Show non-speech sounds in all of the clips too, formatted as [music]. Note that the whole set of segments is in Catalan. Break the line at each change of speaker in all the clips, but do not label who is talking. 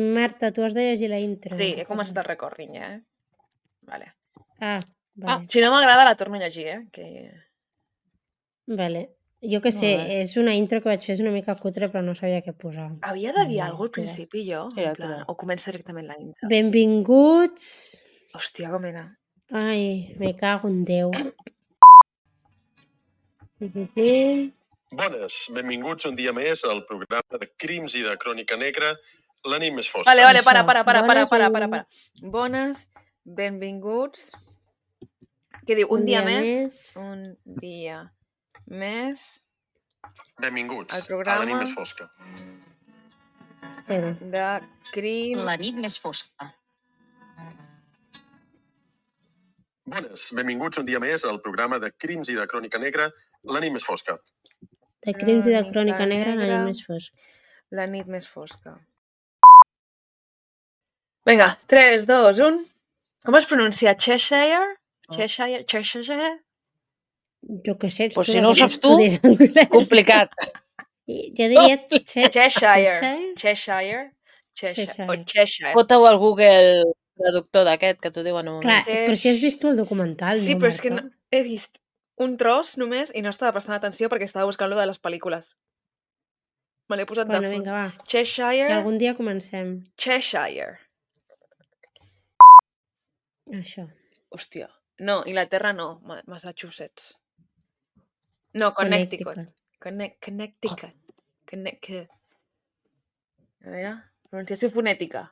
Marta, tu has de llegir la intro.
Sí, he començat el recording, ja, eh? Vale.
Ah,
Ah,
vale.
si no m'agrada la torno a llegir, eh? Que... Ah.
vale. Jo que sé,
Molt bé.
és una intro que vaig fer, és una mica cutre, però no sabia què posar.
Havia de dir
Mm,
alguna cosa al
tira.
principi, jo?
Tira,
en plan,
tira.
o comença directament la intro?
Benvinguts...
Hòstia, com era?
Ai, me cago en Déu. Pi, pi, pi.
Bones, benvinguts un dia més al programa de Crims i de Crònica Negra, la nit més fosca.
Vale, vale, para,
això.
para, para, para,
Bones,
para, para, para. Bones, benvinguts. Què diu? Un, dia, més. Un dia més.
Benvinguts
Al programa.
a la nit més fosca.
Espera.
De crim...
La nit més fosca.
Bones, benvinguts un dia més al programa de Crims i de Crònica Negra, la nit més fosca.
De crims i de
Crònica
crònica negra, la
negra.
nit més fosca.
La nit més fosca. Vinga, 3, 2, 1. Com es pronuncia? Cheshire? Cheshire? Cheshire?
Jo que sé. ets
Pues
tu
si
la
no ho
que
saps tu,
[laughs] estudies anglès.
Complicat.
Jo diria... Che-
[laughs] Cheshire.
Cheshire?
Cheshire? Cheshire. O
Cheshire.
Cheshire.
Foteu al Google traductor d'aquest que t'ho diuen un
Clar,
moment.
però si has vist tu el documental,
Sí,
no,
però és que no,
Marta?
he vist un tros només i no estava prestant atenció perquè estava buscant lo de les pel·lícules. Me l'he posat
Bueno,
de fons.
vinga, va.
Cheshire,
Que algun dia comencem.
Cheshire.
Això.
Hòstia. No, Inglaterra no, Ma- Massachusetts. No, Connecticut. Connect, Connecticut. Connecticut. A ah, veure, pronunciació fonètica.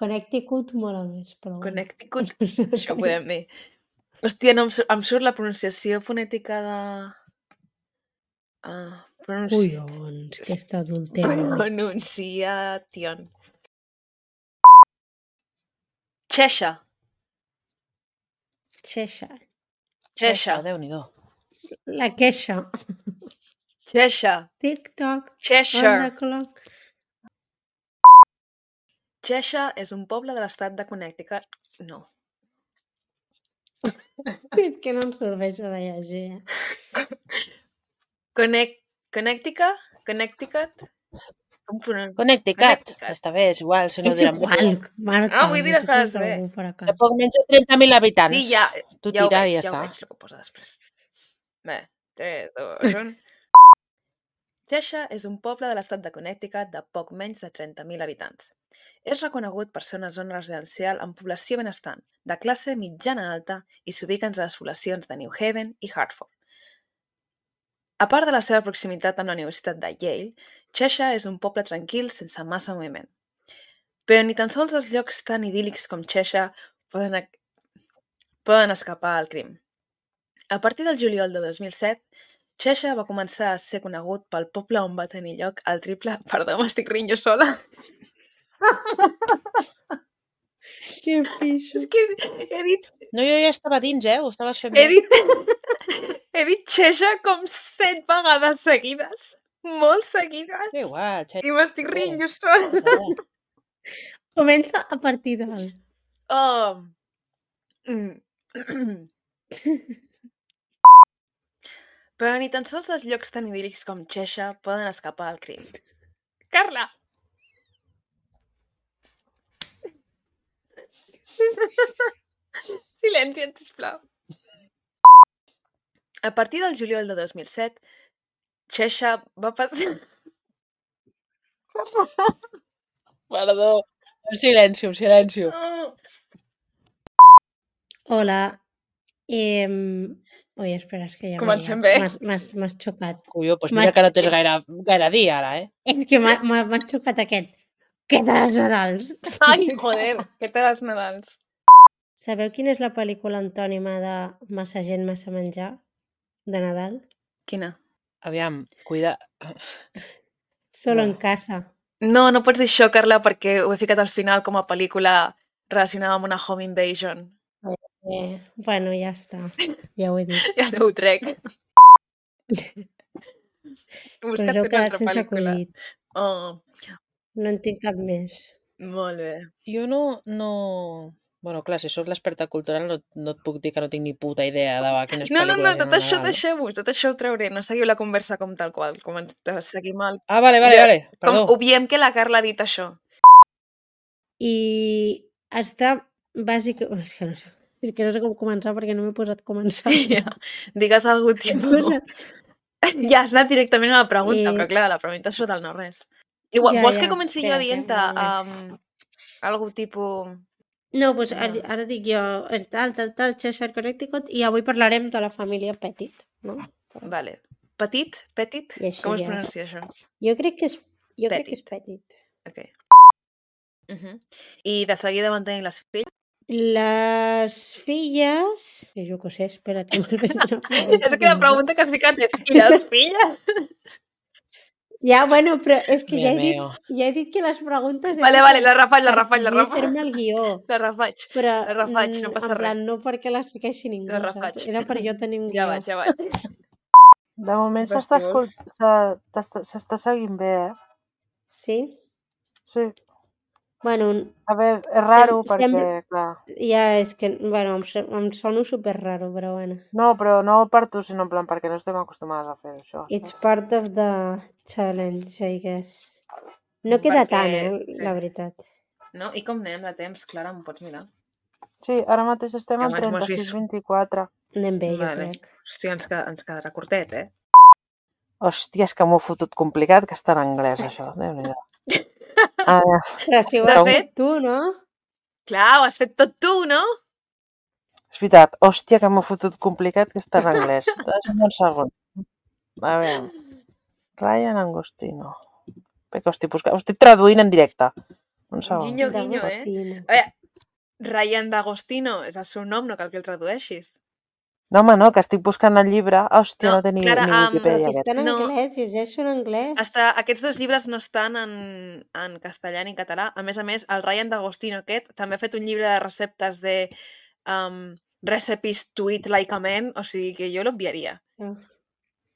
Connecticut mola més, però... bueno.
Connecticut,
No [laughs] sé.
això ho podem dir. Hòstia, no, em, sur- em surt la pronunciació fonètica de... Ah, pronunci...
oh, Collons, doncs, que està adultera.
Pronunciación. Cheshire.
Xeixa.
Cheshire.
Déu-n'hi-do.
La queixa.
Cheshire.
Tic-toc. on the
Cheshire.
clock. [laughs]
Cheshire és un poble de l'estat de Connecticut. No.
És que no em serveixo de llegir. eh?
Connect... Connecticut? Connecticut? Com pronuncia?
Connecticut.
Connecticut.
Està bé, és igual, si no
és
diran...
igual, Marta.
No, Ah, vull dir les
tu tens
coses bé.
algú Per acá.
De
[laughs]
poc menys de 30.000 habitants.
Sí, ja,
Tu
ja ho
tira
veig,
i ja,
ja
està.
ho veig, el que posa després. Bé, 3, 2, 1... Cheshire és un poble de l'estat de Connecticut de poc menys de 30.000 habitants. És reconegut per ser una zona residencial amb població benestant, de classe mitjana-alta i s'ubica entre les poblacions de New Haven i Hartford. A part de la seva proximitat amb la Universitat de Yale, Cheshire és un poble tranquil sense massa moviment. Però ni tan sols els llocs tan idíl·lics com Cheshire poden, ac- poden escapar al crim. A partir del juliol de 2007, Cheshire va començar a ser conegut pel poble on va tenir lloc el triple... [laughs] Perdó, m'estic rient jo sola.
Que pixo.
És que he dit...
No, jo ja estava dins, eh? Ho estaves fent
He
bé.
dit, he dit Cheshire com set vegades seguides. Molt seguides.
Da Igual, xai.
I m'estic rient jo sola. [laughs]
Comença a partir del...
Oh. Mm. [clears throat] Però ni tan sols els llocs tan idíl·lics com Cheshire poden escapar al crim. Carla! [laughs] Silenci, sisplau. A partir del juliol de 2007, Cheshire va passar...
Perdó. Un silenci, un silenci.
Oh.
Hola. Eh... Ui, espera, és que ja... m'he
Comencem
liat.
bé.
M'has- M'has m'has xocat.
Colló, doncs
M'has-
mira que no tens gaire, gaire dia ara, eh?
És que m'ha- m'ha m'ha xocat aquest. Què doncs? t'has Nadals?
[laughs] Ai, joder, què tal els Nadals?
Sabeu quina és la pel·lícula antònima de Massa gent, massa menjar? De Nadal?
Quina?
Aviam, cuida...
Solo en
Bueno.
casa.
No, no pots dir això, Carla, perquè ho he ficat al final com a pel·lícula relacionada amb una home invasion. [laughs]
Eh, bueno, ja està. Ja ho he
[laughs]
dit.
Ja no ho trec.
[laughs] Però jo he
Busca't una
quedat
altra
sense
pel·lícula.
acudit.
Oh,
No en tinc cap més.
molt bé.
Jo no... no... Bueno, clar, si sóc l'experta cultural no, no et puc dir que no tinc ni puta idea de va, quines
No, no, no,
pel·lícules hi ha
tot
a
això
Nadal.
deixeu-ho, tot això ho trauré. No seguiu la conversa com tal qual, com ens- seguim el...
Ah, vale, vale,
Jo-
vale.
Com
Perdó.
obviem que la Carla ha dit això.
I està bàsic... oh, És que no sé, és que no sé com començar perquè no m'he posat
[laughs]
començar.
Ja. Digues alguna
He
[laughs] cosa.
posat-
Ja has anat directament a la
Eh.
pregunta, però clar, la pregunta surt del no-res. Igual,
Ja,
vols
ja,
que comenci
espera,
jo dient-te
espera,
um, algú tipus...
No, doncs ara,
Ja.
ara dic jo eh, tal, tal, tal, Cheshire Connecticut i avui parlarem de la família Petit, no?
Vale. Petit? Petit?
I així
Com es
ja.
pronuncia això?
Jo crec que és, jo crec que és Petit.
Ok. Uh -huh. I de seguida van tenir les filles.
Les filles... Eh, Jo què sé, [laughs] espera't. que m'he fet una
És que la pregunta que has ficat és i
[laughs]
les filles?
Ja, bueno, però és que ja
Dios
he, dit,
mío.
ja he dit que les preguntes...
Vale, vale, la refaig, la refaig, la
refaig.
refaig.
fer-me el guió,
La refaig.
però...
La refaig, no
mm,
passa
en plan, No perquè la segueixi ningú,
La
saps?
refaig.
Era per jo tenir un guió.
Ja vaig, ja
[laughs]
vaig.
De moment s'està escol- se- t'està- s'està seguint bé, eh?
Sí?
Sí.
Bueno,
A veure, és raro
Sem-
perquè,
sembla-
clar...
ja és que... Bueno, em, so- em sono super raro, però bueno.
No, però no per tu, sinó en plan perquè no estem acostumades a fer això.
It's part of the challenge, I guess. No queda
Perquè-
tant, eh,
sí.
la veritat.
No? I com anem de temps? Clara, em pots mirar?
Sí, ara mateix estem
Que
en
abans m'ho has vist.
36-24.
Anem bé, jo
Vale.
crec.
Hòstia, ens, que, ens quedarà curtet, eh?
Hòstia, és que m'ho he fotut complicat, que està en anglès, això. Déu-n'hi-do. Ah,
Però si ho
De
has
fet-
fet tu, no?
Clar, ho has fet tot tu, no?
és veritat. Hòstia, que m'ho he fotut complicat, que està en anglès. Deixa'm un segon. A veure. Ryan Angostino. Perquè ho estic buscant. Ho estic traduint en directe. Un segon.
Guinyo, guinyo, eh?
D'Agostino.
Ryan D'Agostino, és el seu nom, no cal que el tradueixis.
No, home, no, que estic buscant el llibre. Hòstia,
No,
no, tenia
Clara,
ni
am,
Perquè
Wikipedia. aquest.
està en
No.
anglès, llegeixo en anglès.
Hasta, aquests dos llibres no estan en, en castellà ni en català. A més a més, el Ryan D'Agostino aquest també ha fet un llibre de receptes de um, recipes to eat like a man, o sigui que jo l'obviaria.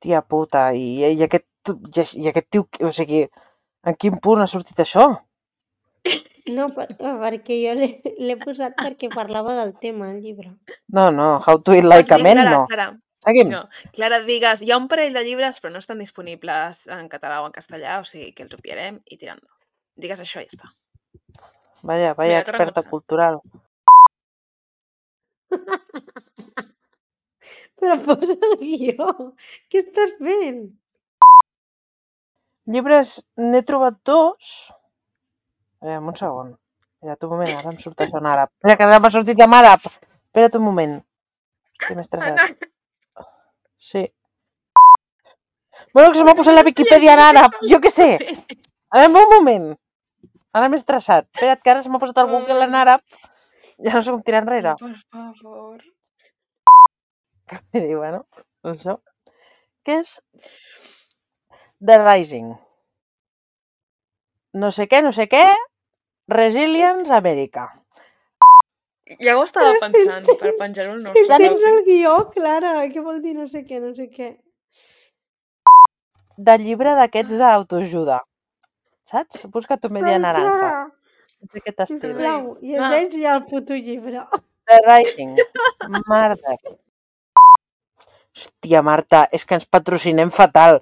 Tia puta, i, i, aquest, tu- i, aix- i aquest tio, o sigui, en quin punt ha sortit això?
No, per, perquè jo l'he l'he posat perquè parlava del tema, el llibre.
[laughs]
No, no, How to Eat Like a Man,
Doncs Clara,
no.
Clara,
Seguim.
no. Clara, digues, hi ha un parell de llibres però no estan disponibles en català o en castellà, o sigui que els obviarem i tirando. Digues això i ja està.
Vaya,
Mira,
vaya
que
experta
remosa.
cultural.
Però posa el guió. Què estàs fent?
Llibres, n'he trobat dos. Eh, un segon. Espera't un moment, ara em surt això en àrab. Mira, que ara m'ha sortit en àrab. Espera't un moment. Que m'he estressat. Sí. Bueno, que se m'ha posat la Viquipèdia en àrab. Jo què sé. A veure, un moment. Ara m'he estressat. Espera't, que ara se m'ha posat el Google en àrab. Ja no sé com tirar enrere.
Por favor.
[laughs] I diu, bueno, doncs això. Què és? The Rising. No sé què, no sé què. Resilience America.
Ja ho estava pensant per penjar-ho al
Si
nostre
tens
perfil.
el guió, Clara, què vol dir no sé què, no sé què.
Del llibre d'aquests d'autoajuda. Saps? Busca tu media naranja. D'aquest estil.
Sisplau, llegeix ja el puto llibre.
The Rising. Marta. Hòstia, Marta, és que ens patrocinem fatal.